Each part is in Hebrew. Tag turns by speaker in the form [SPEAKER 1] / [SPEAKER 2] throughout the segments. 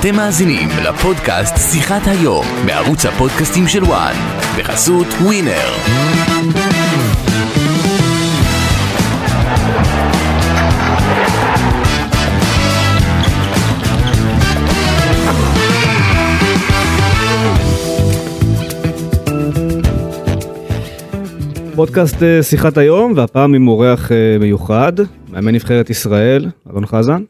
[SPEAKER 1] אתם מאזינים לפודקאסט שיחת היום בערוץ הפודקאסטים של וואן בחסות ווינר.
[SPEAKER 2] פודקאסט אה, שיחת היום, והפעם עם אורח אה, מיוחד, מאמן נבחרת ישראל, אלון חזן.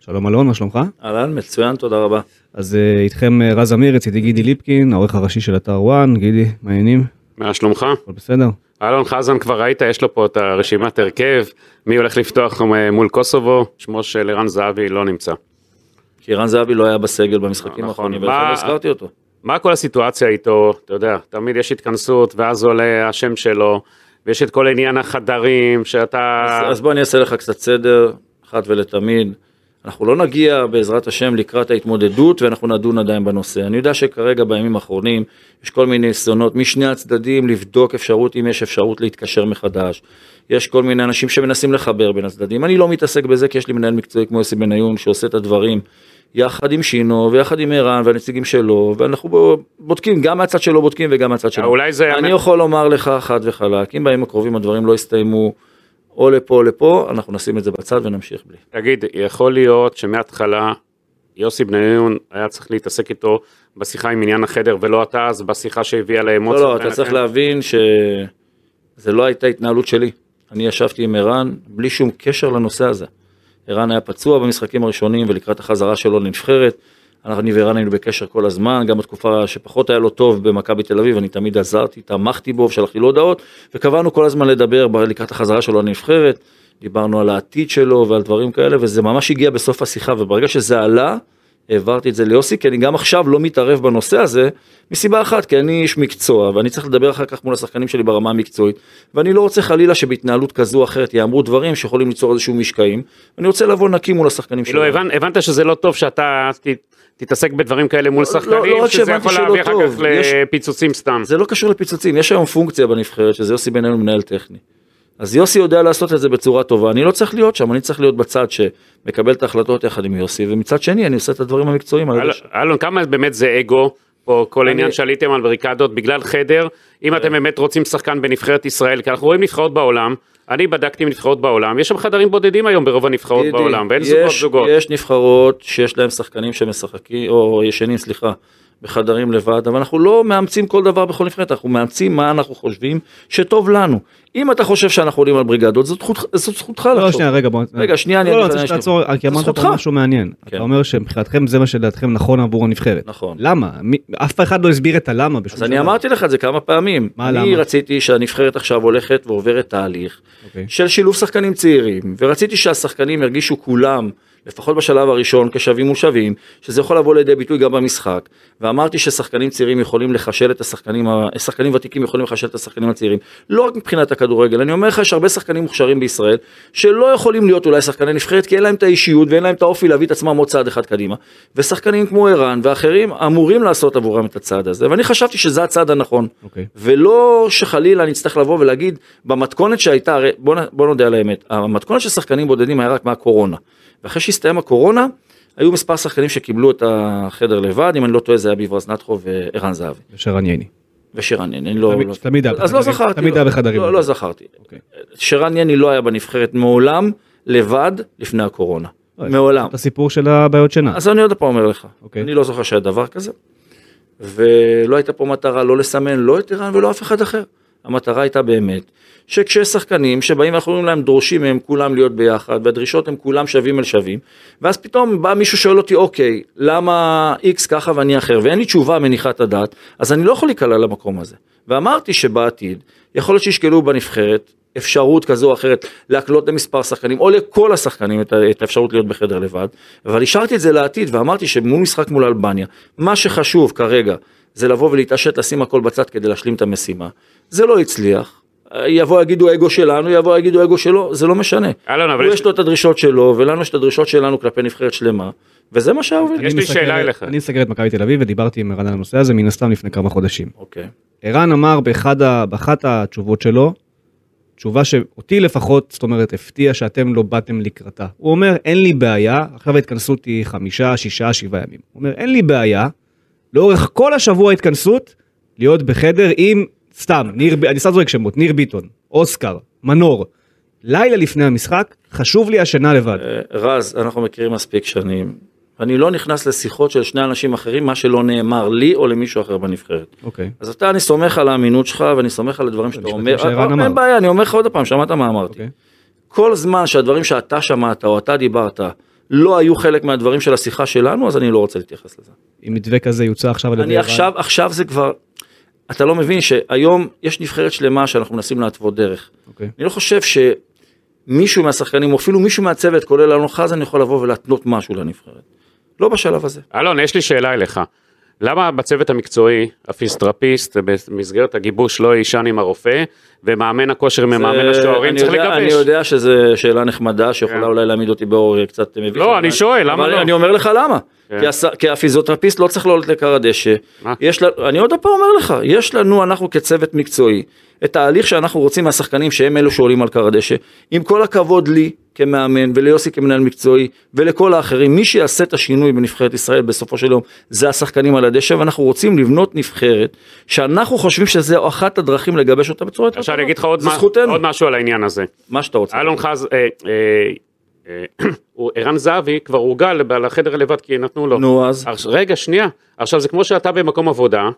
[SPEAKER 2] שלום אלון, מה שלומך?
[SPEAKER 3] אהלן, מצוין, תודה רבה.
[SPEAKER 2] אז אה, איתכם אה, רז אמיר, אצלי גידי ליפקין, העורך הראשי של אתר וואן, גידי, מה העניינים?
[SPEAKER 4] מה שלומך?
[SPEAKER 2] הכל בסדר?
[SPEAKER 4] אלון חזן כבר ראית, יש לו פה את הרשימת הרכב, מי הולך לפתוח אה, מול קוסובו, שמו של ערן זהבי לא נמצא.
[SPEAKER 3] כי רן זהבי לא היה בסגל במשחקים
[SPEAKER 4] נכון.
[SPEAKER 3] האחרונים,
[SPEAKER 4] מה-
[SPEAKER 3] ולכן לא הזכרתי אותו.
[SPEAKER 4] מה כל הסיטואציה איתו, אתה יודע, תמיד יש התכנסות ואז עולה השם שלו, ויש את כל עניין החדרים שאתה...
[SPEAKER 3] אז- אז בוא אני אעשה לך קצת סדר, אחת ולתמיד. אנחנו לא נגיע בעזרת השם לקראת ההתמודדות ואנחנו נדון עדיין בנושא. אני יודע שכרגע בימים האחרונים יש כל מיני ניסיונות משני הצדדים לבדוק אפשרות אם יש אפשרות להתקשר מחדש. יש כל מיני אנשים שמנסים לחבר בין הצדדים. אני לא מתעסק בזה כי יש לי מנהל מקצועי כמו יוסי בניון שעושה את הדברים יחד עם שינו ויחד עם ערן והנציגים שלו ואנחנו בו- בודקים גם מהצד שלו בודקים וגם מהצד שלו.
[SPEAKER 4] אולי זה-
[SPEAKER 3] אני יכול לומר לך חד וחלק אם בימים הקרובים הדברים לא יסתיימו או לפה או לפה, אנחנו נשים את זה בצד ונמשיך בלי.
[SPEAKER 4] תגיד, יכול להיות שמההתחלה יוסי בניון היה צריך להתעסק איתו בשיחה עם עניין החדר, ולא אתה אז בשיחה שהביאה
[SPEAKER 3] לא,
[SPEAKER 4] לאמוציות.
[SPEAKER 3] לא, אתה צריך להבין שזה לא הייתה התנהלות שלי. אני ישבתי עם ערן בלי שום קשר לנושא הזה. ערן היה פצוע במשחקים הראשונים ולקראת החזרה שלו לנבחרת. אנחנו- אני וערן היינו בקשר כל הזמן, גם בתקופה שפחות היה לו טוב במכבי תל אביב, אני תמיד עזרתי, תמכתי בו, שלחתי לו הודעות, וקבענו כל הזמן לדבר ב- לקראת החזרה שלו לנבחרת, דיברנו על העתיד שלו ועל דברים כאלה, וזה ממש הגיע בסוף השיחה, וברגע שזה עלה, העברתי את זה ליוסי, כי אני גם עכשיו לא מתערב בנושא הזה, מסיבה אחת, כי אני איש מקצוע, ואני צריך לדבר אחר כך מול השחקנים שלי ברמה המקצועית, ואני לא רוצה חלילה שבהתנהלות כזו או אחרת יאמרו דברים שיכולים ליצור איזשהו משקעים, אני רוצה לבוא נקי מול השחקנים שלי.
[SPEAKER 4] כאילו הבנ- הבנת שזה לא טוב שאתה ת- תתעסק בדברים כאלה מול
[SPEAKER 3] לא- לא- לא
[SPEAKER 4] שחקנים,
[SPEAKER 3] רק
[SPEAKER 4] שזה
[SPEAKER 3] שהבנתי
[SPEAKER 4] יכול
[SPEAKER 3] שלא
[SPEAKER 4] להביא אחר כך
[SPEAKER 3] טוב, יש-
[SPEAKER 4] לפיצוצים סתם.
[SPEAKER 3] זה לא קשור לפיצוצים, יש היום פונקציה בנבחרת שזה יוסי בן אליהו מנהל טכני. אז יוסי יודע לעשות את זה בצורה טובה, אני לא צריך להיות שם, אני צריך להיות בצד שמקבל את ההחלטות יחד עם יוסי, ומצד שני אני עושה את הדברים המקצועיים. על
[SPEAKER 4] אל-
[SPEAKER 3] הדשא.
[SPEAKER 4] אלון, כמה באמת זה אגו, פה כל עניין שעליתם על בריקדות בגלל חדר, אם
[SPEAKER 3] כן.
[SPEAKER 4] אתם באמת רוצים שחקן בנבחרת ישראל, כי אנחנו רואים נבחרות בעולם, אני בדקתי עם נבחרות בעולם, יש שם חדרים בודדים היום ברוב הנבחרות
[SPEAKER 3] גידי,
[SPEAKER 4] בעולם, ואין
[SPEAKER 3] יש-
[SPEAKER 4] זוגות זוגות.
[SPEAKER 3] יש נבחרות שיש להם שחקנים שמשחקים, או ישנים, סליחה, בחדרים לבד, אבל אנחנו לא מאמצים כל דבר בכל נבחרת, אנחנו מאמצים מה אנחנו חושבים שטוב לנו. אם אתה חושב שאנחנו עולים על בריגדות, זאת זכות- זאת זכותך לחשוב.
[SPEAKER 2] לא, שנייה, רגע, בוא...
[SPEAKER 3] רגע, שנייה, אני
[SPEAKER 2] לא, לא,
[SPEAKER 3] אגיד
[SPEAKER 2] אני
[SPEAKER 3] לך,
[SPEAKER 2] רוצה
[SPEAKER 3] שנייה.
[SPEAKER 2] שתעצור, כי
[SPEAKER 3] זו
[SPEAKER 2] אמרת
[SPEAKER 3] זכותך.
[SPEAKER 2] פה משהו מעניין.
[SPEAKER 3] כן.
[SPEAKER 2] אתה אומר שמבחינתכם זה מה שלדעתכם נכון עבור הנבחרת.
[SPEAKER 3] נכון.
[SPEAKER 2] למה? מי- אף אחד לא הסביר את הלמה בשום
[SPEAKER 3] אז אני אמרתי לך את זה כמה פעמים.
[SPEAKER 2] מה,
[SPEAKER 3] אני
[SPEAKER 2] למה?
[SPEAKER 3] רציתי שהנבחרת עכשיו הולכת ועוברת תהליך
[SPEAKER 2] אוקיי.
[SPEAKER 3] של שילוב שחקנים צעירים, ורציתי שהשחקנים ירגישו כולם, לפחות בשלב הראשון, כשווים ושווים, שזה יכול לבוא לידי ביטוי גם במשחק. ואמרתי ששחקנים צעירים יכולים לחשל את השחקנים, ה- שחקנים ותיקים יכולים לחשל את השחקנים הצעירים. לא רק מבחינת הכדורגל, אני אומר לך, יש הרבה שחקנים מוכשרים בישראל, שלא יכולים להיות אולי שחקני נבחרת, כי אין להם את האישיות ואין להם את האופי להביא את עצמם עוד צעד אחד קדימה. ושחקנים כמו ערן ואחרים אמורים לעשות עבורם את הצעד הזה, ואני חשבתי שזה הצעד הנכון.
[SPEAKER 2] אוקיי.
[SPEAKER 3] ולא שחלילה נצטרך לבוא ולהגיד במתכונת שהייתה, הרי בוא, נ- בוא נודה על האמת, המתכונת של שחקנים בודדים היה רק מהקורונה. ואחרי שהסתיים הקורונה, היו מספר שחקנים שקיבלו את החדר לבד, אם אני לא טועה זה היה ביברס נטחו וערן זהבי.
[SPEAKER 2] שרן ייני.
[SPEAKER 3] ושרן יני, אני לא...
[SPEAKER 2] תמיד-
[SPEAKER 3] לא-
[SPEAKER 2] תמיד היה
[SPEAKER 3] אז לא
[SPEAKER 2] בחדרים,
[SPEAKER 3] זכרתי.
[SPEAKER 2] תמיד
[SPEAKER 3] לא-
[SPEAKER 2] היה בחדרים.
[SPEAKER 3] לא, לא זכרתי.
[SPEAKER 2] אוקיי.
[SPEAKER 3] שרן יני לא היה בנבחרת מעולם, לבד, לפני הקורונה. מעולם.
[SPEAKER 2] את הסיפור של הבעיות שינה.
[SPEAKER 3] אז אני עוד פעם אומר לך,
[SPEAKER 2] אוקיי.
[SPEAKER 3] אני לא זוכר שהיה דבר כזה, ולא הייתה פה מטרה לא לסמן לא את איראן ולא אף אחד אחר. המטרה הייתה באמת, שכשיש שחקנים שבאים ואנחנו אומרים להם דורשים מהם כולם להיות ביחד, והדרישות הם כולם שווים אל שווים, ואז פתאום בא מישהו שואל אותי, אוקיי, למה איקס ככה ואני אחר, ואין לי תשובה מניחת הדעת, אז אני לא יכול להיקלע למקום הזה. ואמרתי שבעתיד, יכול להיות שישקלו בנבחרת אפשרות כזו או אחרת להקלות למספר שחקנים, או לכל השחקנים את, ה- את האפשרות להיות בחדר לבד, אבל השארתי את זה לעתיד ואמרתי שמול משחק מול אלבניה, מה שחשוב כרגע זה לבוא ולהתעשת, לשים הכל בצד כדי להשלים את המשימה. זה לא הצליח. יבוא יגידו אגו שלנו, יבוא יגידו אגו שלו, זה לא משנה.
[SPEAKER 4] אלון, אבל
[SPEAKER 3] הוא
[SPEAKER 4] יש-
[SPEAKER 3] יש לו את הדרישות שלו, ולנו יש את הדרישות שלנו כלפי נבחרת שלמה, וזה מה שהוביל.
[SPEAKER 4] יש לי
[SPEAKER 2] מסתכל-
[SPEAKER 4] שאלה אליך.
[SPEAKER 2] אני מסתכל את מכבי תל אביב ודיברתי עם ערן על הנושא הזה מן הסתם לפני כמה חודשים.
[SPEAKER 3] אוקיי.
[SPEAKER 2] ערן אמר באחד ה, באחת התשובות שלו תשובה שאותי לפחות, זאת אומרת, הפתיע שאתם לא באתם לקראתה. הוא אומר, אין לי בעיה, עכשיו ההתכנסות היא חמישה, שישה, שבעה ימים. הוא אומר, אין לי בעיה, לאורך כל השבוע ההתכנסות, להיות בחדר עם, סתם, ניר, ב- אני סתם זורק שמות, ניר ביטון, אוסקר, מנור. לילה לפני המשחק, חשוב לי השינה לבד.
[SPEAKER 3] אה, רז, אנחנו מכירים מספיק שנים. אני לא נכנס לשיחות של שני אנשים אחרים, מה שלא נאמר לי או למישהו אחר בנבחרת.
[SPEAKER 2] אוקיי.
[SPEAKER 3] אז אתה, אני סומך על האמינות שלך ואני סומך על הדברים שאתה
[SPEAKER 2] המשפטים
[SPEAKER 3] אומר.
[SPEAKER 2] שערן
[SPEAKER 3] אה,
[SPEAKER 2] אמר.
[SPEAKER 3] אין בעיה, אני אומר לך עוד פעם, שמעת מה אמרתי.
[SPEAKER 2] אוקיי.
[SPEAKER 3] כל זמן שהדברים שאתה שמעת או אתה דיברת לא היו חלק מהדברים של השיחה שלנו, אז אני לא רוצה להתייחס לזה.
[SPEAKER 2] אם מתווה כזה יוצא עכשיו על ידי
[SPEAKER 3] אני
[SPEAKER 2] ערן.
[SPEAKER 3] עכשיו, עכשיו זה כבר, אתה לא מבין שהיום יש נבחרת שלמה שאנחנו מנסים להתוות דרך.
[SPEAKER 2] אוקיי.
[SPEAKER 3] אני לא חושב שמישהו מהשחקנים, או אפילו מישהו מהצוות, כולל אלון חזן, יכול לבוא ולהתנות משהו לנבחרת. לא בשלב הזה.
[SPEAKER 4] אלון, יש לי שאלה אליך. למה בצוות המקצועי, הפיסטרפיסט, במסגרת הגיבוש לא יישן עם הרופא, ומאמן הכושר ממאמן
[SPEAKER 3] אה,
[SPEAKER 4] השוערים
[SPEAKER 3] אני
[SPEAKER 4] צריך
[SPEAKER 3] יודע-
[SPEAKER 4] לגבש?
[SPEAKER 3] אני יודע שזו שאלה נחמדה,
[SPEAKER 4] כן.
[SPEAKER 3] שיכולה אולי להעמיד אותי באור אה, קצת מביך.
[SPEAKER 4] לא,
[SPEAKER 3] אבל-
[SPEAKER 4] אני שואל, למה
[SPEAKER 3] אבל
[SPEAKER 4] לא?
[SPEAKER 3] אני אומר לך למה.
[SPEAKER 4] כן.
[SPEAKER 3] כי הס- כי הפיזיותרפיסט לא צריך לעלות לכר הדשא.
[SPEAKER 4] מה?
[SPEAKER 3] יש לנו, אני עוד פעם אומר לך, יש לנו, אנחנו כצוות מקצועי, את ההליך שאנחנו רוצים מהשחקנים שהם אלו שעולים על כר הדשא. עם כל הכבוד לי כמאמן וליוסי כמנהל מקצועי ולכל האחרים, מי שיעשה את השינוי בנבחרת ישראל בסופו של יום זה השחקנים על הדשא, ואנחנו רוצים לבנות נבחרת שאנחנו חושבים שזו אחת הדרכים לגבש אותה בצורה יותר
[SPEAKER 4] עכשיו אני אגיד לך עוד
[SPEAKER 3] אוקיי, זה
[SPEAKER 4] מה-
[SPEAKER 3] זכותנו.
[SPEAKER 4] עוד משהו על העניין הזה.
[SPEAKER 3] מה שאתה רוצה.
[SPEAKER 4] אלון חז... אה, אה, אה, הוא- ערן זהבי כבר הורגל ב- לחדר לבד כי נתנו לו.
[SPEAKER 3] נו אז.
[SPEAKER 4] עכשיו- רגע, שנייה. עכשיו זה כמו שאתה במקום עבודה,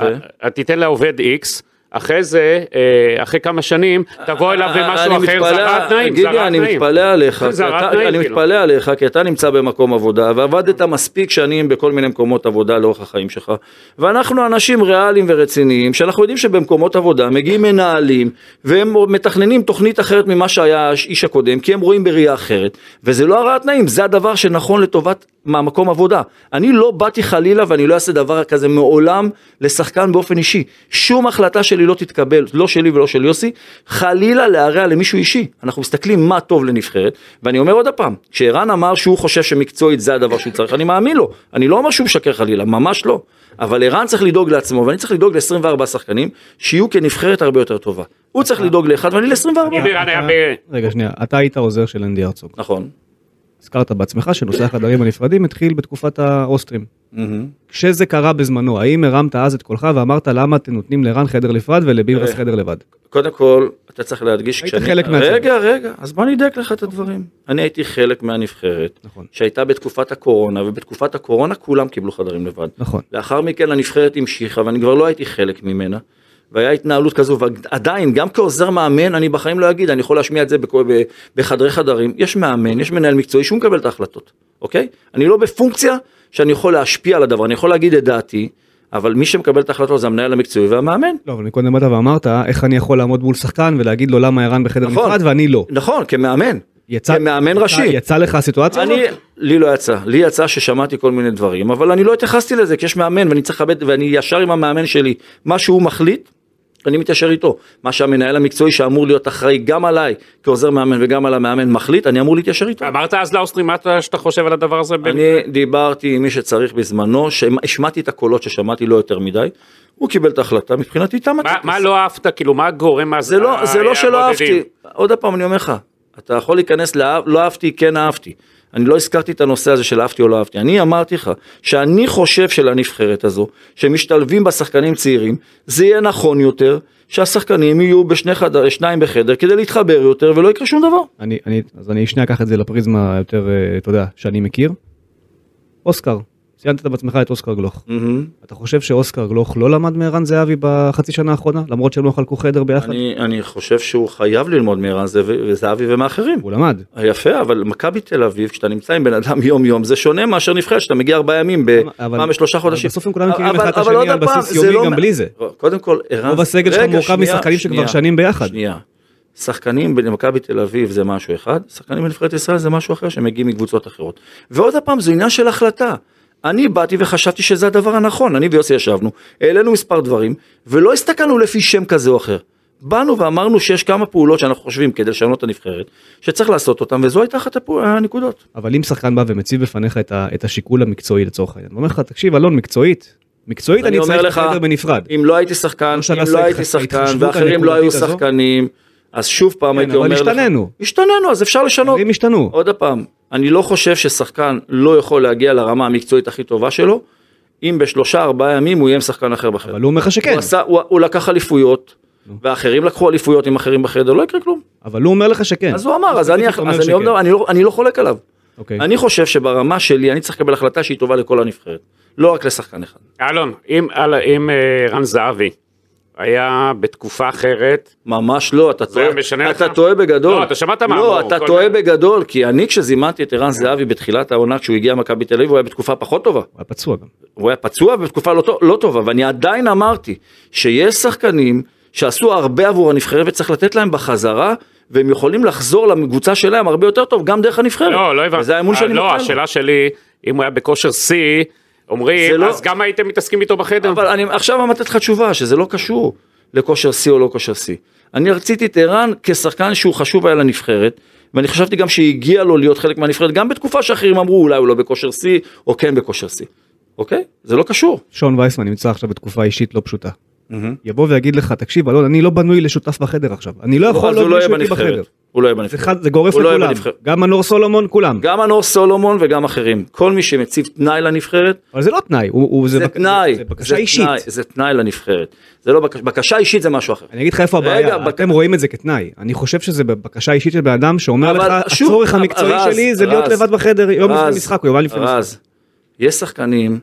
[SPEAKER 3] ו?
[SPEAKER 4] אה, תיתן לעובד איקס, אחרי זה, אה, אחרי כמה שנים, תבוא אליו במשהו
[SPEAKER 3] אה, אני
[SPEAKER 4] אחר,
[SPEAKER 3] מתפלא- אה,
[SPEAKER 4] זה הרעת תנאים, זה
[SPEAKER 3] גידי,
[SPEAKER 4] הרעת
[SPEAKER 3] אני
[SPEAKER 4] תנאים.
[SPEAKER 3] מתפלא עליך,
[SPEAKER 4] זה
[SPEAKER 3] כי
[SPEAKER 4] הרעת
[SPEAKER 3] אתה-
[SPEAKER 4] תנאים,
[SPEAKER 3] אני
[SPEAKER 4] כאילו.
[SPEAKER 3] מתפלא עליך, כי אתה נמצא במקום עבודה, ועבדת מספיק שנים בכל מיני מקומות עבודה לאורך החיים שלך, ואנחנו אנשים ריאליים ורציניים, שאנחנו יודעים שבמקומות עבודה מגיעים מנהלים, והם מתכננים תוכנית אחרת ממה שהיה האיש הקודם, כי הם רואים בראייה אחרת, וזה לא הרעת תנאים, זה הדבר שנכון לטובת מהמקום עבודה. אני לא באתי חלילה ואני לא אעשה דבר כזה מעולם לשחקן באופן אישי. שום החלטה שלי לא תתקבל, לא שלי ולא של יוסי, חלילה להרע למישהו אישי. אנחנו מסתכלים מה טוב לנבחרת, ואני אומר עוד פעם, כשערן אמר שהוא חושב שמקצועית זה הדבר שהוא צריך, אני מאמין לו. אני לא אומר שהוא משקר חלילה, ממש לא. אבל ערן צריך לדאוג לעצמו, ואני צריך לדאוג ל-24 שחקנים, שיהיו כנבחרת הרבה יותר טובה. הוא צריך לדאוג לאחד ואני
[SPEAKER 4] אם
[SPEAKER 3] ל-24.
[SPEAKER 4] ערן היה
[SPEAKER 2] אתה-
[SPEAKER 4] ב...
[SPEAKER 2] רגע, שנייה, אתה היית עוזר של אנדי הרצוג.
[SPEAKER 3] נכון.
[SPEAKER 2] הזכרת בעצמך שנושא החדרים הנפרדים התחיל בתקופת האוסטרים. כשזה קרה בזמנו, האם הרמת אז את קולך ואמרת למה אתם נותנים לרן חדר נפרד ולבילרס
[SPEAKER 3] תראה.
[SPEAKER 2] חדר לבד?
[SPEAKER 3] קודם כל, אתה צריך להדגיש
[SPEAKER 2] היית חלק מהצוות.
[SPEAKER 3] רגע, רגע, אז בוא נדייק לך את הדברים. אני הייתי חלק מהנבחרת,
[SPEAKER 2] נכון.
[SPEAKER 3] שהייתה בתקופת הקורונה, ובתקופת הקורונה כולם קיבלו חדרים לבד.
[SPEAKER 2] נכון.
[SPEAKER 3] לאחר מכן הנבחרת המשיכה, ואני כבר לא הייתי חלק ממנה. והיה התנהלות כזו, ועדיין, גם כעוזר מאמן, אני בחיים לא אגיד, אני יכול להשמיע את זה בכל- ב- בחדרי חדרים. יש מאמן, יש מנהל מקצועי שהוא מקבל את ההחלטות, אוקיי? אני לא בפונקציה שאני יכול להשפיע על הדבר, אני יכול להגיד את דעתי, אבל מי שמקבל את ההחלטות זה המנהל המקצועי והמאמן.
[SPEAKER 2] לא, אבל מקודם באת ואמרת, איך אני יכול לעמוד מול שחקן ולהגיד לו למה ערן בחדר
[SPEAKER 3] נכון.
[SPEAKER 2] נפרד ואני לא.
[SPEAKER 3] נכון, כמאמן.
[SPEAKER 2] יצא-
[SPEAKER 3] כמאמן
[SPEAKER 2] יצא-
[SPEAKER 3] ראשי.
[SPEAKER 2] יצא לך הסיטואציה הזאת?
[SPEAKER 3] אני, לי לא יצא, לי יצא ששמעתי כל מיני דברים, אבל אני לא התייחסתי לזה, כי יש מאמן ואני צריך לכבד, ואני ישר עם המאמן שלי, מה שהוא מחליט, אני מתיישר איתו. מה שהמנהל המקצועי שאמור להיות אחראי גם עליי כעוזר מאמן וגם על המאמן מחליט, אני אמור להתיישר איתו.
[SPEAKER 4] אמרת אז לאוסטרים מה אתה- שאתה חושב על הדבר הזה? בן-
[SPEAKER 3] אני דיברתי עם מי שצריך בזמנו, שהשמעתי את הקולות ששמעתי לא יותר מדי, הוא קיבל את ההחלטה, מבחינתי תם
[SPEAKER 4] מה-
[SPEAKER 3] הטקס.
[SPEAKER 4] מה לא אהבת? כאילו, מה אה, הגורם אז...
[SPEAKER 3] זה לא, זה
[SPEAKER 4] היה
[SPEAKER 3] לא שלא
[SPEAKER 4] בודדים?
[SPEAKER 3] אהבתי, עוד פעם אני אומר לך, אתה יכול להיכנס לאהב, לא אהבתי, כן אהבתי. אני לא הזכרתי את הנושא הזה של אהבתי או לא אהבתי, אני אמרתי לך שאני חושב שלנבחרת הזו, שמשתלבים בה שחקנים צעירים, זה יהיה נכון יותר שהשחקנים יהיו בשני חדר, שניים בחדר כדי להתחבר יותר ולא יקרה שום דבר.
[SPEAKER 2] אני, אני, אז אני שנייה אקח את זה לפריזמה היותר, אה, אתה יודע, שאני מכיר. אוסקר, ציינת בעצמך את אוסקר גלוך. אתה חושב שאוסקר גלוך לא למד מערן זהבי בחצי שנה האחרונה? למרות שהם לא חלקו חדר ביחד?
[SPEAKER 3] אני, אני חושב שהוא חייב ללמוד מערן זהבי- זהבי ומאחרים.
[SPEAKER 2] הוא למד.
[SPEAKER 3] יפה, אבל מכבי תל אביב, כשאתה נמצא עם בן אדם יום-יום, זה שונה מאשר נבחרת, שאתה מגיע ארבעה ימים, ב-
[SPEAKER 2] אבל-
[SPEAKER 3] פעם בשלושה
[SPEAKER 2] אבל
[SPEAKER 3] חודשים.
[SPEAKER 2] בסוף הם כולם מכירים
[SPEAKER 3] אבל-
[SPEAKER 2] אחד את
[SPEAKER 3] אבל
[SPEAKER 2] השני
[SPEAKER 3] עוד
[SPEAKER 2] על
[SPEAKER 3] פעם,
[SPEAKER 2] בסיס
[SPEAKER 3] זה
[SPEAKER 2] יומי,
[SPEAKER 3] לא
[SPEAKER 2] גם
[SPEAKER 3] מ-
[SPEAKER 2] בלי זה.
[SPEAKER 3] קודם כל, ערן...
[SPEAKER 2] רוב הסגל שלך
[SPEAKER 3] רגע,
[SPEAKER 2] מורכב
[SPEAKER 3] שנייה,
[SPEAKER 2] משחקנים שכבר
[SPEAKER 3] שנייה,
[SPEAKER 2] שנים ביחד.
[SPEAKER 3] שנייה. שחקנים במכבי תל אביב זה משהו אחד, שחקנים בנבחרת ישראל זה משהו אחר, שהם מגיעים מקבוצות אחרות. ועוד פעם, זה עניין של החלטה. אני באתי וחשבתי שזה הדבר הנכון, אני ויוסי ישבנו, העלינו מספר דברים, ולא הסתכלנו לפי שם כזה או אחר. באנו ואמרנו שיש כמה פעולות שאנחנו חושבים כדי לשנות את הנבחרת, שצריך לעשות אותן, וזו הייתה אחת הפעול- הנקודות.
[SPEAKER 2] אבל אם שחקן בא ומציב בפניך את, ה, את השיקול המקצועי לצורך העניין, הוא אומר לך, תקשיב אלון, מקצועית, מקצועית אני,
[SPEAKER 3] אני אומר
[SPEAKER 2] צריך
[SPEAKER 3] לך,
[SPEAKER 2] חדר בנפרד.
[SPEAKER 3] אם לא הייתי שחקן,
[SPEAKER 2] לא
[SPEAKER 3] אם
[SPEAKER 2] שנה
[SPEAKER 3] לא
[SPEAKER 2] שחק-
[SPEAKER 3] הייתי שחקן,
[SPEAKER 2] ההתחשבות
[SPEAKER 3] ואחרים לא היו
[SPEAKER 2] הנקודתית הזו?
[SPEAKER 3] שחקנים, אז שוב פעם
[SPEAKER 2] כן,
[SPEAKER 3] הייתי
[SPEAKER 2] אבל
[SPEAKER 3] אומר לך...
[SPEAKER 2] השתננו.
[SPEAKER 3] השתננו, אז אפשר לשנות.
[SPEAKER 2] הם השתנו.
[SPEAKER 3] עוד פעם, אני לא חושב ששחקן לא יכול להגיע לרמה המקצועית הכי טובה שלו, אם בשלושה ארבעה ימים הוא יהיה עם שחקן אחר בחדר.
[SPEAKER 2] אבל הוא כן. אומר לך שכן.
[SPEAKER 3] הוא, עשה, הוא, הוא לקח אליפויות, ואחרים לקחו אליפויות עם אחרים בחדר, לא יקרה כלום.
[SPEAKER 2] אבל הוא אומר לך שכן.
[SPEAKER 3] אז הוא אמר, אז
[SPEAKER 2] ספציפית
[SPEAKER 3] אני
[SPEAKER 2] אתה כן. אומר
[SPEAKER 3] אז אני
[SPEAKER 2] שכן.
[SPEAKER 3] אומר, אני לא- אני לא חולק עליו.
[SPEAKER 2] אוקיי.
[SPEAKER 3] אני חושב שברמה שלי אני צריך לקבל החלטה שהיא טובה לכל הנבחרת, לא רק לשחקן אחד.
[SPEAKER 4] אלון, אם, אל, אם אה, רן זהבי היה בתקופה אחרת,
[SPEAKER 3] ממש לא, אתה טועה,
[SPEAKER 4] משנה
[SPEAKER 3] אתה
[SPEAKER 4] לך?
[SPEAKER 3] טועה בגדול.
[SPEAKER 4] לא, אתה שמעת מה
[SPEAKER 3] לא,
[SPEAKER 4] אמרו,
[SPEAKER 3] אתה
[SPEAKER 4] כל
[SPEAKER 3] טועה
[SPEAKER 4] מיני- כן.
[SPEAKER 3] בגדול, כי אני כשזימנתי את ערן זהבי בתחילת העונה כשהוא הגיע למכבי תל אביב, הוא היה בתקופה פחות טובה.
[SPEAKER 2] הוא היה פצוע גם.
[SPEAKER 3] הוא היה פצוע בתקופה לא, טוב- לא טובה, ואני עדיין אמרתי שיש שחקנים שעשו הרבה עבור הנבחרת וצריך לתת להם בחזרה, והם יכולים לחזור לקבוצה שלהם הרבה יותר טוב, גם דרך הנבחרת.
[SPEAKER 4] לא, לא הבנתי.
[SPEAKER 3] וזה האמון שאני
[SPEAKER 4] לא,
[SPEAKER 3] נותן לו.
[SPEAKER 4] השאלה שלי, אם הוא היה בכושר שיא,
[SPEAKER 3] זה
[SPEAKER 4] אומרים,
[SPEAKER 3] לא-
[SPEAKER 4] אז גם הייתם מתעסקים איתו בחדר?
[SPEAKER 3] אבל אני עכשיו אמרתי לך תשובה, שזה לא קשור לכושר שיא או לא כושר שיא. אני רציתי את ערן כשחקן שהוא חשוב היה לנבחרת, ואני חשבתי גם שהגיע לו להיות חלק מהנבחרת, גם בתקופה שאחרים אמרו אולי הוא לא בכושר שיא, או כן בכושר שיא. אוקיי? זה לא קשור.
[SPEAKER 2] שון וייסמן נמצא עכשיו בתקופה אישית לא פשוטה. יבוא ויגיד לך, תקשיב, אלון, אני לא בנוי לשותף בחדר עכשיו. אני לא יכול
[SPEAKER 3] אז הוא
[SPEAKER 2] להיות
[SPEAKER 3] לא יהיה
[SPEAKER 2] מישהו איתי בחדר.
[SPEAKER 3] בנבחרת. הוא לא יהיה
[SPEAKER 2] זה
[SPEAKER 3] בנבחרת.
[SPEAKER 2] חד- זה גורף
[SPEAKER 3] הוא לא יהיה
[SPEAKER 2] לכולם.
[SPEAKER 3] בנבחרת.
[SPEAKER 2] גם מנור סולומון, כולם.
[SPEAKER 3] גם מנור סולומון וגם אחרים. כל מי שמציב תנאי לנבחרת,
[SPEAKER 2] אבל זה לא תנאי. הוא- הוא-
[SPEAKER 3] זה
[SPEAKER 2] בק-
[SPEAKER 3] תנאי.
[SPEAKER 2] זה בקשה
[SPEAKER 3] זה
[SPEAKER 2] אישית.
[SPEAKER 3] תנאי, זה תנאי לנבחרת. זה לא בקשה, בקשה אישית זה משהו אחר.
[SPEAKER 2] אני אגיד לך איפה
[SPEAKER 3] רגע,
[SPEAKER 2] הבעיה,
[SPEAKER 3] בק-
[SPEAKER 2] אתם רואים את זה כתנאי, אני חושב שזה בבקשה אישית של בן אדם שאומר
[SPEAKER 3] אבל
[SPEAKER 2] לך,
[SPEAKER 3] שוב,
[SPEAKER 2] הצורך
[SPEAKER 3] אבל-
[SPEAKER 2] המקצועי
[SPEAKER 3] רז,
[SPEAKER 2] שלי זה להיות
[SPEAKER 3] רז,
[SPEAKER 2] לבד בחדר יום לפני
[SPEAKER 3] רז,
[SPEAKER 2] משחק או יומיים לפני משחק.
[SPEAKER 3] רז, יש שחקנים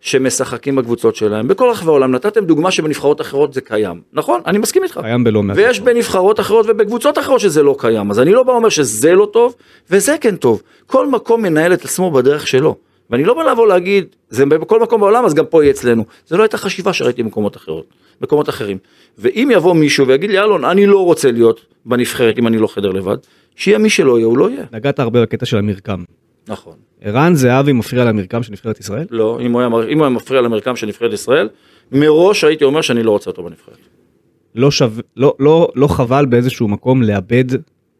[SPEAKER 3] שמשחקים בקבוצות שלהם בכל רחבי העולם. נתתם דוגמה שבנבחרות אחרות זה קיים. נכון, אני מסכים איתך.
[SPEAKER 2] קיים בלא מעט.
[SPEAKER 3] ויש בנבחרות אחרות ובקבוצות אחרות שזה לא קיים. אז אני לא בא אומר שזה לא טוב, וזה כן טוב. כל מקום מנהל את עצמו בדרך שלו. ואני לא בא לבוא להגיד, זה בכל מקום בעולם, אז גם פה יהיה אצלנו. זה לא הייתה חשיבה שראיתי במקומות אחרות, מקומות אחרים. ואם יבוא מישהו ויגיד לי, אלון, אני לא רוצה להיות בנבחרת אם אני לא חדר לבד, שיהיה מי שלא יהיה, הוא לא יהיה.
[SPEAKER 2] נגעת הרבה בקטע של המרקם.
[SPEAKER 3] נכון.
[SPEAKER 2] ערן זהבי מפריע למרקם של נבחרת ישראל?
[SPEAKER 3] לא, אם הוא היה, מר- אם הוא היה מפריע למרקם של נבחרת ישראל, מראש הייתי אומר שאני לא רוצה אותו בנבחרת.
[SPEAKER 2] לא שווה, לא- לא- לא חבל באיזשהו מקום לאבד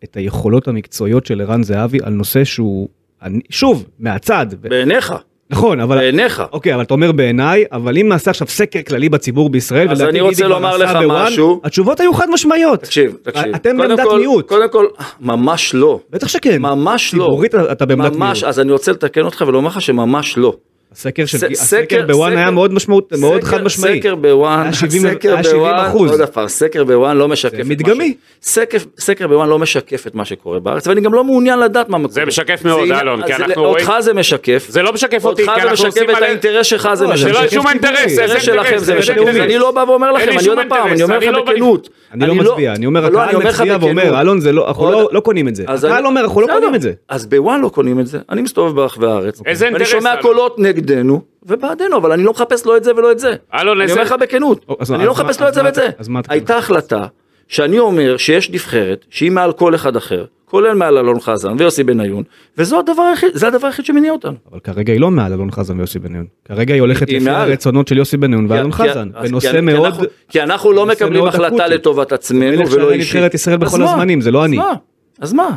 [SPEAKER 2] את היכולות המקצועיות של ערן זהבי על נושא שהוא, אני- שוב, מהצד, ב-
[SPEAKER 3] בעיניך,
[SPEAKER 2] נכון, אבל...
[SPEAKER 3] בעיניך.
[SPEAKER 2] אוקיי, אבל אתה אומר בעיניי, אבל אם נעשה עכשיו סקר כללי בציבור בישראל,
[SPEAKER 3] אז
[SPEAKER 2] ולדעתי
[SPEAKER 3] אני רוצה
[SPEAKER 2] גידי כבר
[SPEAKER 3] לומר
[SPEAKER 2] עשה
[SPEAKER 3] לך
[SPEAKER 2] בוואן,
[SPEAKER 3] משהו.
[SPEAKER 2] התשובות היו חד משמעיות.
[SPEAKER 3] תקשיב, תקשיב.
[SPEAKER 2] אתם
[SPEAKER 3] קודם
[SPEAKER 2] בעמדת
[SPEAKER 3] כל-
[SPEAKER 2] מיעוט.
[SPEAKER 3] קודם כל, ממש לא.
[SPEAKER 2] בטח שכן.
[SPEAKER 3] ממש לא.
[SPEAKER 2] ציבורית אתה בעמדת
[SPEAKER 3] ממש,
[SPEAKER 2] מיעוט.
[SPEAKER 3] אז אני רוצה לתקן אותך ולומר לך שממש לא.
[SPEAKER 2] הסקר של
[SPEAKER 3] ס-
[SPEAKER 2] הסקר בוואן היה מאוד משמעות, מאוד
[SPEAKER 3] סקר-
[SPEAKER 2] חד משמעי.
[SPEAKER 3] סקר בוואן,
[SPEAKER 2] היה 70
[SPEAKER 3] סקר
[SPEAKER 2] היה 70
[SPEAKER 3] בוואן, לא
[SPEAKER 2] אחוז.
[SPEAKER 3] עוד פעם, סקר בוואן לא משקף
[SPEAKER 2] זה
[SPEAKER 3] את מה
[SPEAKER 2] מדגמי.
[SPEAKER 3] ש- סקר- סקר בוואן לא משקף את מה שקורה בארץ, ואני גם לא מעוניין לדעת מה
[SPEAKER 4] זה
[SPEAKER 3] קורה.
[SPEAKER 4] משקף מאוד,
[SPEAKER 3] זה-
[SPEAKER 4] אלון, כי
[SPEAKER 3] זה-
[SPEAKER 4] אנחנו רואים-
[SPEAKER 3] אותך זה משקף.
[SPEAKER 4] זה לא משקף אותי,
[SPEAKER 3] אותך
[SPEAKER 4] כי
[SPEAKER 3] זה
[SPEAKER 4] אנחנו
[SPEAKER 3] משקף
[SPEAKER 4] עושים
[SPEAKER 3] את
[SPEAKER 4] מלא-
[SPEAKER 3] האינטרס שלך, זה
[SPEAKER 2] לא,
[SPEAKER 4] זה
[SPEAKER 3] משקף.
[SPEAKER 4] לא
[SPEAKER 2] משקף
[SPEAKER 4] שום
[SPEAKER 2] ציבורי.
[SPEAKER 4] אינטרס, איזה
[SPEAKER 3] האינטרס שלכם
[SPEAKER 4] אינטרס,
[SPEAKER 3] זה
[SPEAKER 4] איזה
[SPEAKER 3] משקף.
[SPEAKER 4] אינטרס.
[SPEAKER 3] אני לא בא ואומר
[SPEAKER 4] אין
[SPEAKER 3] לכם,
[SPEAKER 4] לי
[SPEAKER 3] אני
[SPEAKER 4] שום
[SPEAKER 3] עוד פעם,
[SPEAKER 4] אינטרס,
[SPEAKER 3] אני אומר
[SPEAKER 4] אני
[SPEAKER 3] לכם
[SPEAKER 4] לא בא-
[SPEAKER 3] בכנות.
[SPEAKER 2] אני לא מצביע, אני אומר,
[SPEAKER 3] לא,
[SPEAKER 2] הקהל
[SPEAKER 3] אומר לך
[SPEAKER 2] מצביע
[SPEAKER 3] בכנות.
[SPEAKER 2] ואומר, אלון זה לא, אנחנו
[SPEAKER 3] עוד-
[SPEAKER 2] לא- לא קונים את זה.
[SPEAKER 3] אז
[SPEAKER 2] הקהל
[SPEAKER 3] אני-
[SPEAKER 2] אומר, אנחנו לא
[SPEAKER 3] בסדר.
[SPEAKER 2] קונים את זה.
[SPEAKER 3] אז בוואן לא קונים את זה, אני מסתובב ברחבי הארץ.
[SPEAKER 4] איזה אוקיי. אינטרס,
[SPEAKER 3] ואני שומע
[SPEAKER 4] אלון?
[SPEAKER 3] קולות נגדנו ובעדנו, אבל אני לא מחפש לא את זה ולא את זה.
[SPEAKER 4] אלון,
[SPEAKER 3] אני
[SPEAKER 4] איזה-
[SPEAKER 3] אומר לך בכנות,
[SPEAKER 2] או, אז מה-
[SPEAKER 3] אני לא
[SPEAKER 2] אז מה-
[SPEAKER 3] מחפש
[SPEAKER 2] אז
[SPEAKER 3] לא את זה
[SPEAKER 2] מה
[SPEAKER 3] ואת
[SPEAKER 2] אתה-
[SPEAKER 3] זה.
[SPEAKER 2] אז מה אתה-
[SPEAKER 3] הייתה החלטה שאני אומר שיש נבחרת שהיא מעל כל אחד אחר, כולל מעל אלון חזן ויוסי בניון, וזה הדבר היחיד- זה הדבר היחיד שמניע אותנו.
[SPEAKER 2] אבל כרגע היא לא מעל אלון חזן ויוסי בניון. כרגע היא הולכת
[SPEAKER 3] היא
[SPEAKER 2] לפי
[SPEAKER 3] מעל.
[SPEAKER 2] הרצונות של יוסי בניון ואלון
[SPEAKER 3] כי- כי-
[SPEAKER 2] חזן.
[SPEAKER 3] אז- כי-
[SPEAKER 2] בנושא
[SPEAKER 3] כי
[SPEAKER 2] מאוד...
[SPEAKER 3] אנחנו- כי אנחנו לא
[SPEAKER 2] נושא
[SPEAKER 3] מקבלים
[SPEAKER 2] מאוד
[SPEAKER 3] החלטה
[SPEAKER 2] אקוטי.
[SPEAKER 3] לטובת עצמנו
[SPEAKER 2] מלך
[SPEAKER 3] ולא
[SPEAKER 2] שערי
[SPEAKER 3] אישית.
[SPEAKER 2] נבחרת ישראל
[SPEAKER 3] אז
[SPEAKER 2] בכל
[SPEAKER 3] מה?
[SPEAKER 2] הזמנים, זה לא
[SPEAKER 3] אז
[SPEAKER 2] אני.
[SPEAKER 3] מה? אז מה?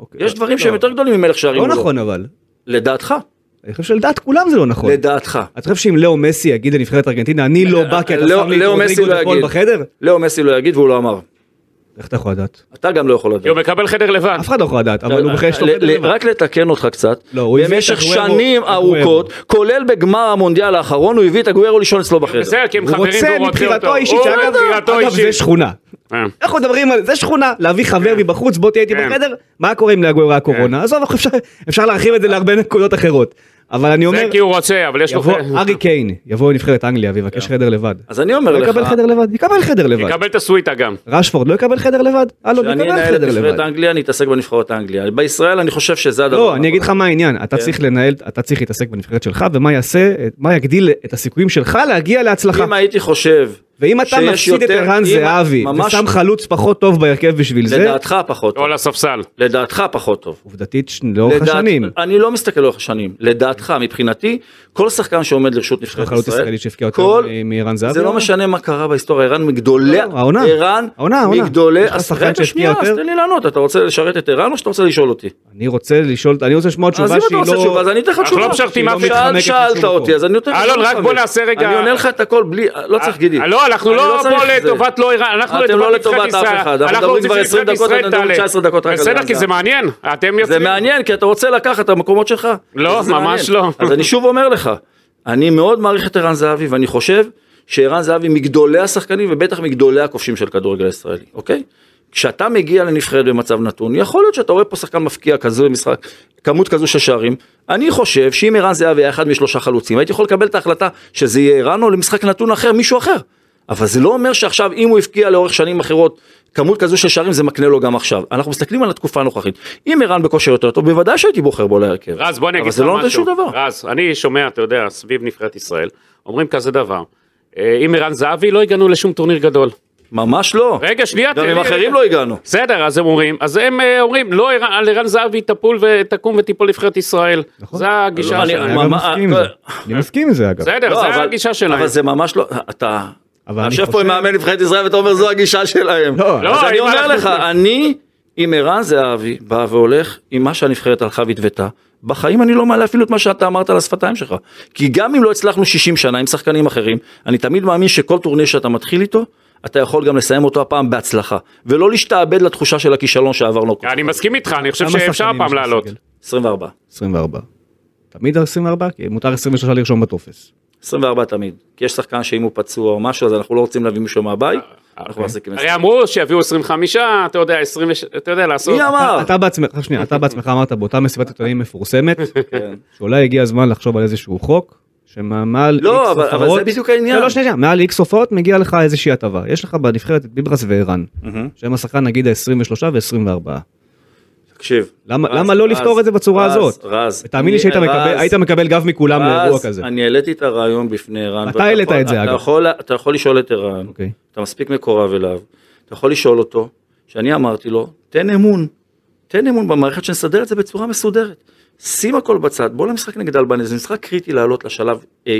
[SPEAKER 2] אוקיי.
[SPEAKER 3] יש דברים
[SPEAKER 2] לא,
[SPEAKER 3] שהם יותר גדולים ממלך שערים.
[SPEAKER 2] לא
[SPEAKER 3] או
[SPEAKER 2] נכון אבל.
[SPEAKER 3] לדעתך.
[SPEAKER 2] אני חושב שלדעת כולם זה לא נכון.
[SPEAKER 3] לדעתך.
[SPEAKER 2] אתה חושב שאם לאו מסי יגיד לנבחרת ארגנטינה, אני לא בא כי אתה
[SPEAKER 3] לאו-
[SPEAKER 2] שם לי את
[SPEAKER 3] לאו מסי
[SPEAKER 2] רודריגו
[SPEAKER 3] לא
[SPEAKER 2] ופול
[SPEAKER 3] יגיד.
[SPEAKER 2] בחדר?
[SPEAKER 3] לאו מסי לא יגיד והוא לא אמר.
[SPEAKER 2] איך אתה יכול לדעת?
[SPEAKER 3] אתה גם לא יכול לדעת.
[SPEAKER 4] כי הוא מקבל חדר לבד.
[SPEAKER 2] אף אחד לא יכול לדעת, אבל הוא בכלל יש לו
[SPEAKER 3] ל-
[SPEAKER 2] חדר
[SPEAKER 3] ל-
[SPEAKER 2] לבד.
[SPEAKER 3] רק לתקן אותך קצת,
[SPEAKER 2] לא, הוא הביא את
[SPEAKER 3] במשך
[SPEAKER 2] הגוארו-
[SPEAKER 3] שנים
[SPEAKER 2] הגוארו.
[SPEAKER 3] ארוכות, כולל בגמר המונדיאל האחרון, הוא הביא את הגוורו לישון אצלו בחדר.
[SPEAKER 4] בסדר, כי הם
[SPEAKER 2] הוא
[SPEAKER 4] חברים,
[SPEAKER 2] רוצה
[SPEAKER 4] והוא רוצה
[SPEAKER 2] מבחירתו
[SPEAKER 4] אותו.
[SPEAKER 2] האישית,
[SPEAKER 4] הוא
[SPEAKER 2] שאגב,
[SPEAKER 4] מבחירתו
[SPEAKER 2] אגב, זה
[SPEAKER 4] האישית.
[SPEAKER 2] שכונה.
[SPEAKER 4] אה.
[SPEAKER 2] אנחנו מדברים על זה שכונה להביא חבר מבחוץ בוא תהיה איתי
[SPEAKER 4] כן.
[SPEAKER 2] בחדר מה קורה אם להגוירה הקורונה
[SPEAKER 4] כן.
[SPEAKER 2] עזוב אנחנו אפשר- אפשר להרחיב את זה להרבה נקודות אחרות אבל אני
[SPEAKER 4] זה
[SPEAKER 2] אומר
[SPEAKER 4] כי הוא רוצה, אבל יש לו
[SPEAKER 2] יבוא
[SPEAKER 4] חדר.
[SPEAKER 3] כן.
[SPEAKER 2] ארי קיין יבוא לנבחרת אנגליה ויבקש
[SPEAKER 4] כן.
[SPEAKER 2] חדר לבד.
[SPEAKER 3] אז אני אומר
[SPEAKER 2] לא
[SPEAKER 3] לך,
[SPEAKER 2] יקבל חדר לבד יקבל חדר לבד
[SPEAKER 4] יקבל את הסוויטה גם.
[SPEAKER 2] רשפורד לא יקבל חדר לבד אלון
[SPEAKER 3] כשאני
[SPEAKER 2] יקבל
[SPEAKER 3] אנהל את
[SPEAKER 2] חדר
[SPEAKER 3] נבחרת
[SPEAKER 2] לבד.
[SPEAKER 3] אנגליה, אני אתעסק בנבחרות אנגליה. בישראל אני חושב שזה הדבר.
[SPEAKER 2] לא
[SPEAKER 3] הנכון.
[SPEAKER 2] אני אגיד לך מה העניין
[SPEAKER 4] כן.
[SPEAKER 2] אתה צריך לנהל אתה צריך להתעסק בנבחרת שלך ומה יעשה מה יגדיל את הסיכויים שלך להגיע להצלחה.
[SPEAKER 3] אם הייתי חושב,
[SPEAKER 2] ואם אתה
[SPEAKER 3] שיש
[SPEAKER 2] מפסיד את
[SPEAKER 3] יותר-
[SPEAKER 2] ערן
[SPEAKER 3] אם-
[SPEAKER 2] זהבי
[SPEAKER 3] ממש-
[SPEAKER 2] ושם חלוץ פחות טוב בהרכב בשביל זה
[SPEAKER 3] לדעתך פחות
[SPEAKER 4] או
[SPEAKER 3] טוב.
[SPEAKER 4] לספסל.
[SPEAKER 3] לדעתך פחות טוב.
[SPEAKER 2] עובדתית ש- לאורך
[SPEAKER 3] לדעת-
[SPEAKER 2] השנים.
[SPEAKER 3] אני לא מסתכל לאורך השנים. לדעתך, מבחינתי, כל שחקן שעומד לרשות נבחרת ישראל,
[SPEAKER 2] חלוץ ישראלי שהבקיע יותר
[SPEAKER 3] כל-
[SPEAKER 2] מערן זהבי?
[SPEAKER 3] זה לא
[SPEAKER 2] אולי?
[SPEAKER 3] משנה מה קרה בהיסטוריה, ערן מגדולי,
[SPEAKER 2] לא, העונה.
[SPEAKER 3] ערן
[SPEAKER 2] העונה, העונה.
[SPEAKER 3] מגדולי,
[SPEAKER 2] יש לך
[SPEAKER 3] אז
[SPEAKER 2] שחקן
[SPEAKER 3] רגע
[SPEAKER 2] שהבקיע
[SPEAKER 3] שנייה, אז
[SPEAKER 2] יותר?
[SPEAKER 3] תן לי לענות, אתה רוצה לשרת את ערן או שאתה רוצה לשאול אותי?
[SPEAKER 2] אני רוצה לשאול, אני רוצה לשמוע
[SPEAKER 3] אז
[SPEAKER 2] תשובה
[SPEAKER 3] אם אתה
[SPEAKER 2] שהיא
[SPEAKER 3] רוצה תשובה,
[SPEAKER 2] לא...
[SPEAKER 3] אז אני אתן לך
[SPEAKER 4] אנחנו
[SPEAKER 3] תשובה.
[SPEAKER 4] לא משרתים
[SPEAKER 3] שאל-
[SPEAKER 4] אף אחד.
[SPEAKER 2] מתחמקת
[SPEAKER 3] שאלת
[SPEAKER 2] משום
[SPEAKER 3] אותי,
[SPEAKER 2] מקום.
[SPEAKER 3] אז אני נותן לך
[SPEAKER 4] אלון, רק
[SPEAKER 3] תשובה.
[SPEAKER 4] בוא נעשה רגע-
[SPEAKER 3] אני עונה לך את הכל בלי, לא צריך גידי.
[SPEAKER 4] לא, אנחנו
[SPEAKER 3] אני לא
[SPEAKER 4] לא
[SPEAKER 3] צריך
[SPEAKER 4] פה
[SPEAKER 3] את זה.
[SPEAKER 4] לטובת לא איראן, אנחנו
[SPEAKER 3] אתם לא
[SPEAKER 4] לטובת נבחרת
[SPEAKER 3] לטובת אף
[SPEAKER 4] ישראל.
[SPEAKER 3] אחד, אנחנו מדברים
[SPEAKER 4] רוצים
[SPEAKER 3] כבר 20
[SPEAKER 4] שנבחרת
[SPEAKER 3] דקות,
[SPEAKER 4] ישראל
[SPEAKER 3] אתם מדברים
[SPEAKER 4] תעלה.
[SPEAKER 3] 19 דקות רק על
[SPEAKER 4] בסדר,
[SPEAKER 3] גלנדה.
[SPEAKER 4] כי זה מעניין, אתם
[SPEAKER 3] זה
[SPEAKER 4] יוצאים.
[SPEAKER 3] מעניין, כי אתה רוצה לקחת את המקומות שלך.
[SPEAKER 4] לא,
[SPEAKER 3] זה
[SPEAKER 4] ממש
[SPEAKER 3] מעניין.
[SPEAKER 4] לא.
[SPEAKER 3] אז אני שוב אומר לך, אני מאוד מעריך את ערן זהבי, ואני חושב שערן זהבי מגדולי השחקנים, ובטח מגדולי הכובשים של כדורגל הישראלי, אוקיי? כשאתה מגיע לנבחרת במצב נתון, יכול להיות שאתה רואה פה שחקן מפקיע כזו במשחק, כמות כזו של שערים. אני חושב שאם ערן זהבי היה אחד משלושה חלוצים, הייתי יכול לקבל את ההחלטה שזה יהיה ערן או למשחק נתון אחר, מישהו אחר. אבל זה לא אומר שעכשיו אם הוא הבקיע לאורך שנים אחרות כמות כזו של שערים זה מקנה לו גם עכשיו. אנחנו מסתכלים על התקופה הנוכחית. אם ערן בכושר יותר טוב בוודאי שהייתי בוחר בו להרכב.
[SPEAKER 4] רז, בוא אני
[SPEAKER 3] אבל
[SPEAKER 4] אגיד לך
[SPEAKER 3] זה
[SPEAKER 4] משהו.
[SPEAKER 3] לא נותן שום דבר.
[SPEAKER 4] רז, אני שומע, אתה יודע, סביב נבחרת ישראל, אומרים כזה דבר. אה, עם ערן זהבי לא הגענו לשום טורניר גדול.
[SPEAKER 3] ממש לא.
[SPEAKER 4] רגע, שנייה.
[SPEAKER 3] גם
[SPEAKER 4] תן
[SPEAKER 3] עם
[SPEAKER 4] לי-
[SPEAKER 3] אחרים לא הגענו.
[SPEAKER 4] בסדר, אז הם אומרים, אז הם אה, אומרים, לא, ערן- על ערן זהבי תפול ותקום ותיפול נבחרת ישראל.
[SPEAKER 2] נכון.
[SPEAKER 4] זה הגישה
[SPEAKER 3] לא, אני-
[SPEAKER 4] שלהם.
[SPEAKER 2] אני אגב
[SPEAKER 3] מה-
[SPEAKER 2] מסכים עם
[SPEAKER 3] אה,
[SPEAKER 2] זה. אני מסכים עם זה אגב.
[SPEAKER 4] בסדר,
[SPEAKER 3] לא,
[SPEAKER 4] זה
[SPEAKER 3] אבל-
[SPEAKER 4] הגישה שלהם.
[SPEAKER 3] אבל זה ממש לא, אתה,
[SPEAKER 2] אבל
[SPEAKER 3] אתה
[SPEAKER 2] אני
[SPEAKER 3] יושב פה
[SPEAKER 2] חושב-
[SPEAKER 3] עם מאמן נבחרת ישראל ואתה אומר זו הגישה שלהם.
[SPEAKER 2] לא.
[SPEAKER 4] לא,
[SPEAKER 3] אז אני
[SPEAKER 4] אם
[SPEAKER 3] אומר
[SPEAKER 4] אנחנו-
[SPEAKER 3] לך, אני עם ערן זהבי בא והולך עם מה שהנבחרת הלכה והתוותה. בחיים אני לא מעלה אפילו את מה שאתה אמרת על השפתיים שלך. כי גם אם לא הצלחנו 60 שנה עם שחקנים אחרים, אני תמיד מאמין שכל טורניר שאתה מתחיל איתו, אתה יכול גם לסיים אותו הפעם בהצלחה. ולא להשתעבד לתחושה של הכישלון שעברנו.
[SPEAKER 4] אני מסכים איתך, אני חושב
[SPEAKER 2] כמה
[SPEAKER 4] שאפשר
[SPEAKER 2] שחקנים יש
[SPEAKER 4] הפעם לעלות.
[SPEAKER 2] בסגל?
[SPEAKER 3] 24.
[SPEAKER 2] 24. תמיד 24? כי מותר 23 לרשום בטופס.
[SPEAKER 3] 24 תמיד. כי יש שחקן שאם הוא פצוע או משהו, אז אנחנו לא רוצים להביא מישהו מהבית.
[SPEAKER 2] אה, אוקיי.
[SPEAKER 3] אנחנו מחזיקים את
[SPEAKER 4] הרי אמרו שיביאו 25, אתה יודע, 20, אתה יודע, לעשות.
[SPEAKER 3] מי אמר?
[SPEAKER 2] אתה בעצמך, שנייה, אתה בעצמך אמרת באותה מסיבת עיתונאים מפורסמת,
[SPEAKER 3] כן.
[SPEAKER 2] שאולי הגיע הזמן לחשוב על איזשהו חוק, שמעל
[SPEAKER 3] לא,
[SPEAKER 2] איקס
[SPEAKER 3] אבל- אבל זה בדיוק העניין.
[SPEAKER 2] לא, לא, שנייה, שנייה, מעל איקס הופעות מגיע לך איזושהי הטבה. יש לך בנבחרת את ביברס וערן, שהם השחקן נגיד ה-23 ו-24.
[SPEAKER 3] תקשיב.
[SPEAKER 2] למה-
[SPEAKER 3] רז,
[SPEAKER 2] למה לא
[SPEAKER 3] רז,
[SPEAKER 2] לפתור את זה בצורה
[SPEAKER 3] רז,
[SPEAKER 2] הזאת?
[SPEAKER 3] רז.
[SPEAKER 2] ותאמין לי
[SPEAKER 3] אני-
[SPEAKER 2] שהיית
[SPEAKER 3] רז,
[SPEAKER 2] מקבל- היית מקבל גב מכולם
[SPEAKER 3] רז,
[SPEAKER 2] לאירוע כזה.
[SPEAKER 3] אני העליתי את הרעיון בפני ערן.
[SPEAKER 2] אתה
[SPEAKER 3] ואתה
[SPEAKER 2] העלית
[SPEAKER 3] יכול-
[SPEAKER 2] את זה,
[SPEAKER 3] אתה
[SPEAKER 2] אגב.
[SPEAKER 3] יכול- אתה יכול לשאול את ערן,
[SPEAKER 2] אוקיי.
[SPEAKER 3] אתה מספיק מקורב אליו, אתה יכול לשאול אותו, שאני אמרתי לו, תן אמון, תן אמון במערכת שנסדר את זה בצורה מסודרת. שים הכל בצד, בוא למשחק נגד אלבניה, זה משחק קריטי לעלות לשלב A,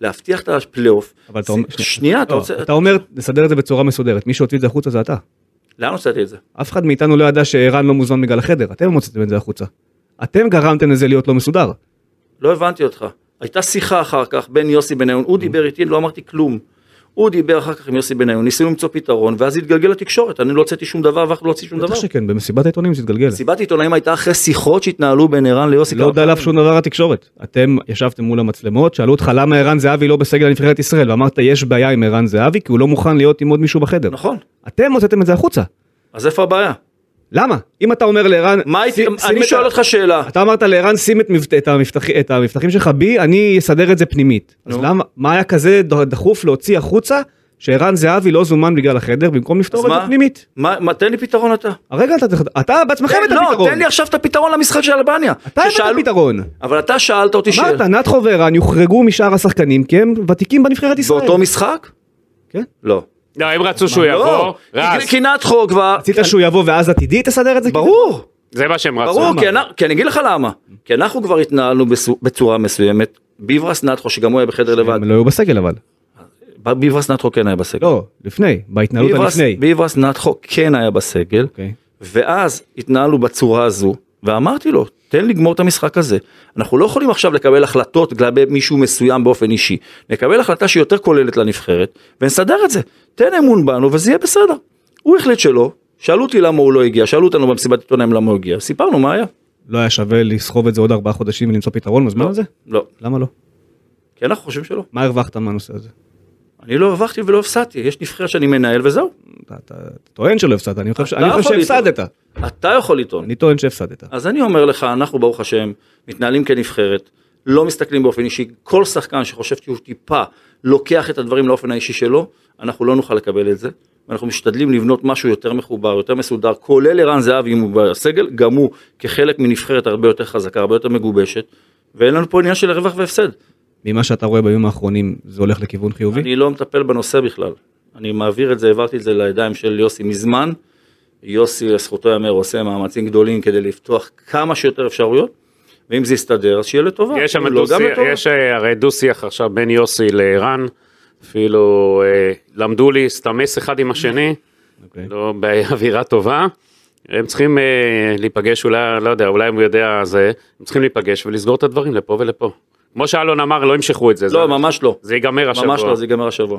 [SPEAKER 3] להבטיח את הפלייאוף.
[SPEAKER 2] אבל אתה
[SPEAKER 3] שים-
[SPEAKER 2] אומר-
[SPEAKER 3] שנייה, אתה
[SPEAKER 2] לא,
[SPEAKER 3] רוצה...
[SPEAKER 2] אתה אומר, נסדר את זה בצורה מסודרת. מי שהוציא את זה החוצה זה אתה.
[SPEAKER 3] לאן הוצאתי את זה?
[SPEAKER 2] אף אחד מאיתנו לא ידע שערן לא מוזמן בגלל החדר, אתם הוצאתם את זה החוצה. אתם גרמתם לזה להיות לא מסודר.
[SPEAKER 3] לא הבנתי אותך. הייתה שיחה אחר כך בין יוסי בניון, הוא דיבר איתי, לא אמרתי כלום. הוא דיבר אחר כך עם יוסי בניון, ניסינו למצוא פתרון, ואז התגלגל לתקשורת, אני לא הוצאתי שום דבר ואף אחד לא הוציא שום דבר.
[SPEAKER 2] בטח שכן, במסיבת העיתונים זה התגלגל.
[SPEAKER 3] מסיבת עיתונאים הייתה אחרי שיחות שהתנהלו בין ערן ליוסי.
[SPEAKER 2] לא דלף שום דבר לתקשורת. אתם ישבתם מול המצלמות, שאלו אותך למה ערן זהבי לא בסגל הנבחרת ישראל, ואמרת יש בעיה עם ערן זהבי כי הוא לא מוכן להיות עם עוד מישהו בחדר.
[SPEAKER 3] נכון,
[SPEAKER 2] אתם הוצאתם את זה החוצה.
[SPEAKER 3] אז איפה הבעיה?
[SPEAKER 2] למה? אם אתה אומר לערן...
[SPEAKER 3] מה הייתי,
[SPEAKER 2] שים- שים
[SPEAKER 3] אני
[SPEAKER 2] את ה-
[SPEAKER 3] שואל אותך שאלה.
[SPEAKER 2] אתה אמרת לערן שים את, מבט... את, המבטח... את המבטחים שלך בי, אני אסדר את זה פנימית. אז
[SPEAKER 3] נו.
[SPEAKER 2] למה, מה היה כזה ד- דחוף להוציא החוצה שערן זהבי לא זומן בגלל החדר במקום לפתור
[SPEAKER 3] אז
[SPEAKER 2] את זה
[SPEAKER 3] מה?
[SPEAKER 2] פנימית?
[SPEAKER 3] מה- מה- תן לי פתרון אתה.
[SPEAKER 2] הרגע לא אתה צריך... אתה בעצמך הבאת
[SPEAKER 3] לא,
[SPEAKER 2] פתרון.
[SPEAKER 3] תן לי עכשיו את הפתרון למשחק של אלבניה.
[SPEAKER 2] אתה הבאת
[SPEAKER 3] ששאלו-
[SPEAKER 2] פתרון.
[SPEAKER 3] אבל אתה שאלת אותי
[SPEAKER 2] אמרת,
[SPEAKER 3] שאלה.
[SPEAKER 2] נתחו וערן יוחרגו משאר השחקנים כי הם ותיקים בנבחרת ישראל.
[SPEAKER 3] באותו משחק?
[SPEAKER 2] כן.
[SPEAKER 3] לא.
[SPEAKER 4] לא, הם רצו שהוא יבוא,
[SPEAKER 3] לא.
[SPEAKER 4] רז,
[SPEAKER 3] כי נתחו כבר.
[SPEAKER 2] רצית שהוא יבוא ואז עתידי תסדר את זה?
[SPEAKER 3] ברור.
[SPEAKER 4] זה מה שהם רצו.
[SPEAKER 3] ברור, כי, אני, כי אני אגיד לך למה. כי אנחנו כבר התנהלנו בסו, בצורה מסוימת. ביברס נטחו, שגם הוא היה בחדר לבד.
[SPEAKER 2] הם לא היו בסגל אבל.
[SPEAKER 3] ביברס נטחו כן היה בסגל.
[SPEAKER 2] לא, לפני, בהתנהלות
[SPEAKER 3] ביברס,
[SPEAKER 2] הלפני.
[SPEAKER 3] ביברס נטחו כן היה בסגל.
[SPEAKER 2] אוקיי.
[SPEAKER 3] ואז התנהלו בצורה הזו, ואמרתי לו, תן לגמור את המשחק הזה. אנחנו לא יכולים עכשיו לקבל החלטות לגבי מישהו מסוים באופן אישי. נקבל החלטה שהיא יותר כוללת לנבחרת, ונסדר את זה. תן אמון בנו וזה יהיה בסדר. הוא החליט שלא, שאלו אותי למה הוא לא הגיע, שאלו אותנו במסיבת עיתונאים למה הוא הגיע, סיפרנו מה היה.
[SPEAKER 2] לא היה שווה לסחוב את זה עוד ארבעה חודשים ולמצוא פתרון בזמן הזה?
[SPEAKER 3] לא,
[SPEAKER 2] למה לא?
[SPEAKER 3] כי אנחנו חושבים שלא.
[SPEAKER 2] מה הרווחת מהנושא הזה?
[SPEAKER 3] אני לא הרווחתי ולא הפסדתי, יש נבחרת שאני מנהל וזהו.
[SPEAKER 2] אתה- אתה אתה טוען שלא הפסדת, אני חושב ש-
[SPEAKER 3] אתה לא
[SPEAKER 2] אני חושב
[SPEAKER 3] יכול אה. לטעון.
[SPEAKER 2] שהפסדת.
[SPEAKER 3] אתה יכול לטעון.
[SPEAKER 2] אני טוען שהפסדת.
[SPEAKER 3] אז אני אומר לך, אנחנו ברוך השם מתנהלים כנבחרת, לא מסתכלים באופן אישי, כל שחקן שחושב שהוא טיפה לוקח את הדברים לאופן האישי שלו, אנחנו לא נוכל לקבל את זה. אנחנו משתדלים לבנות משהו יותר מחובר, יותר מסודר, כולל ערן זהבי אם הוא בסגל, גם הוא כחלק מנבחרת הרבה יותר חזקה, הרבה יותר מגובשת, ואין לנו פה עניין של רווח והפסד.
[SPEAKER 2] ממה שאתה רואה בימים האחרונים זה הולך לכיוון חיובי?
[SPEAKER 3] אני לא מטפל בנושא בכלל. אני מעביר את זה, העברתי את זה לידיים של יוסי מזמן. יוסי, לזכותו ייאמר, עושה מאמצים גדולים כדי לפתוח כמה שיותר אפשרויות, ואם זה יסתדר, אז שיהיה לטובה.
[SPEAKER 4] יש שם
[SPEAKER 3] אם לא, גם
[SPEAKER 4] דו-שיח,
[SPEAKER 3] לטובה.
[SPEAKER 4] יש אה, הרי דו-שיח עכשיו בין יוסי לערן, אפילו אה, למדו להסתמס אחד עם השני,
[SPEAKER 2] אוקיי.
[SPEAKER 4] לא באווירה טובה. הם צריכים אה, להיפגש, אולי, לא יודע, אולי אם הוא יודע זה, הם צריכים להיפגש ולסגור את הדברים לפה ולפה. כמו שאלון אמר, לא ימשכו את זה, זה-
[SPEAKER 3] לא, ממש לא.
[SPEAKER 4] זה ייגמר השבוע.
[SPEAKER 3] ממש לא, זה ייגמר השבוע.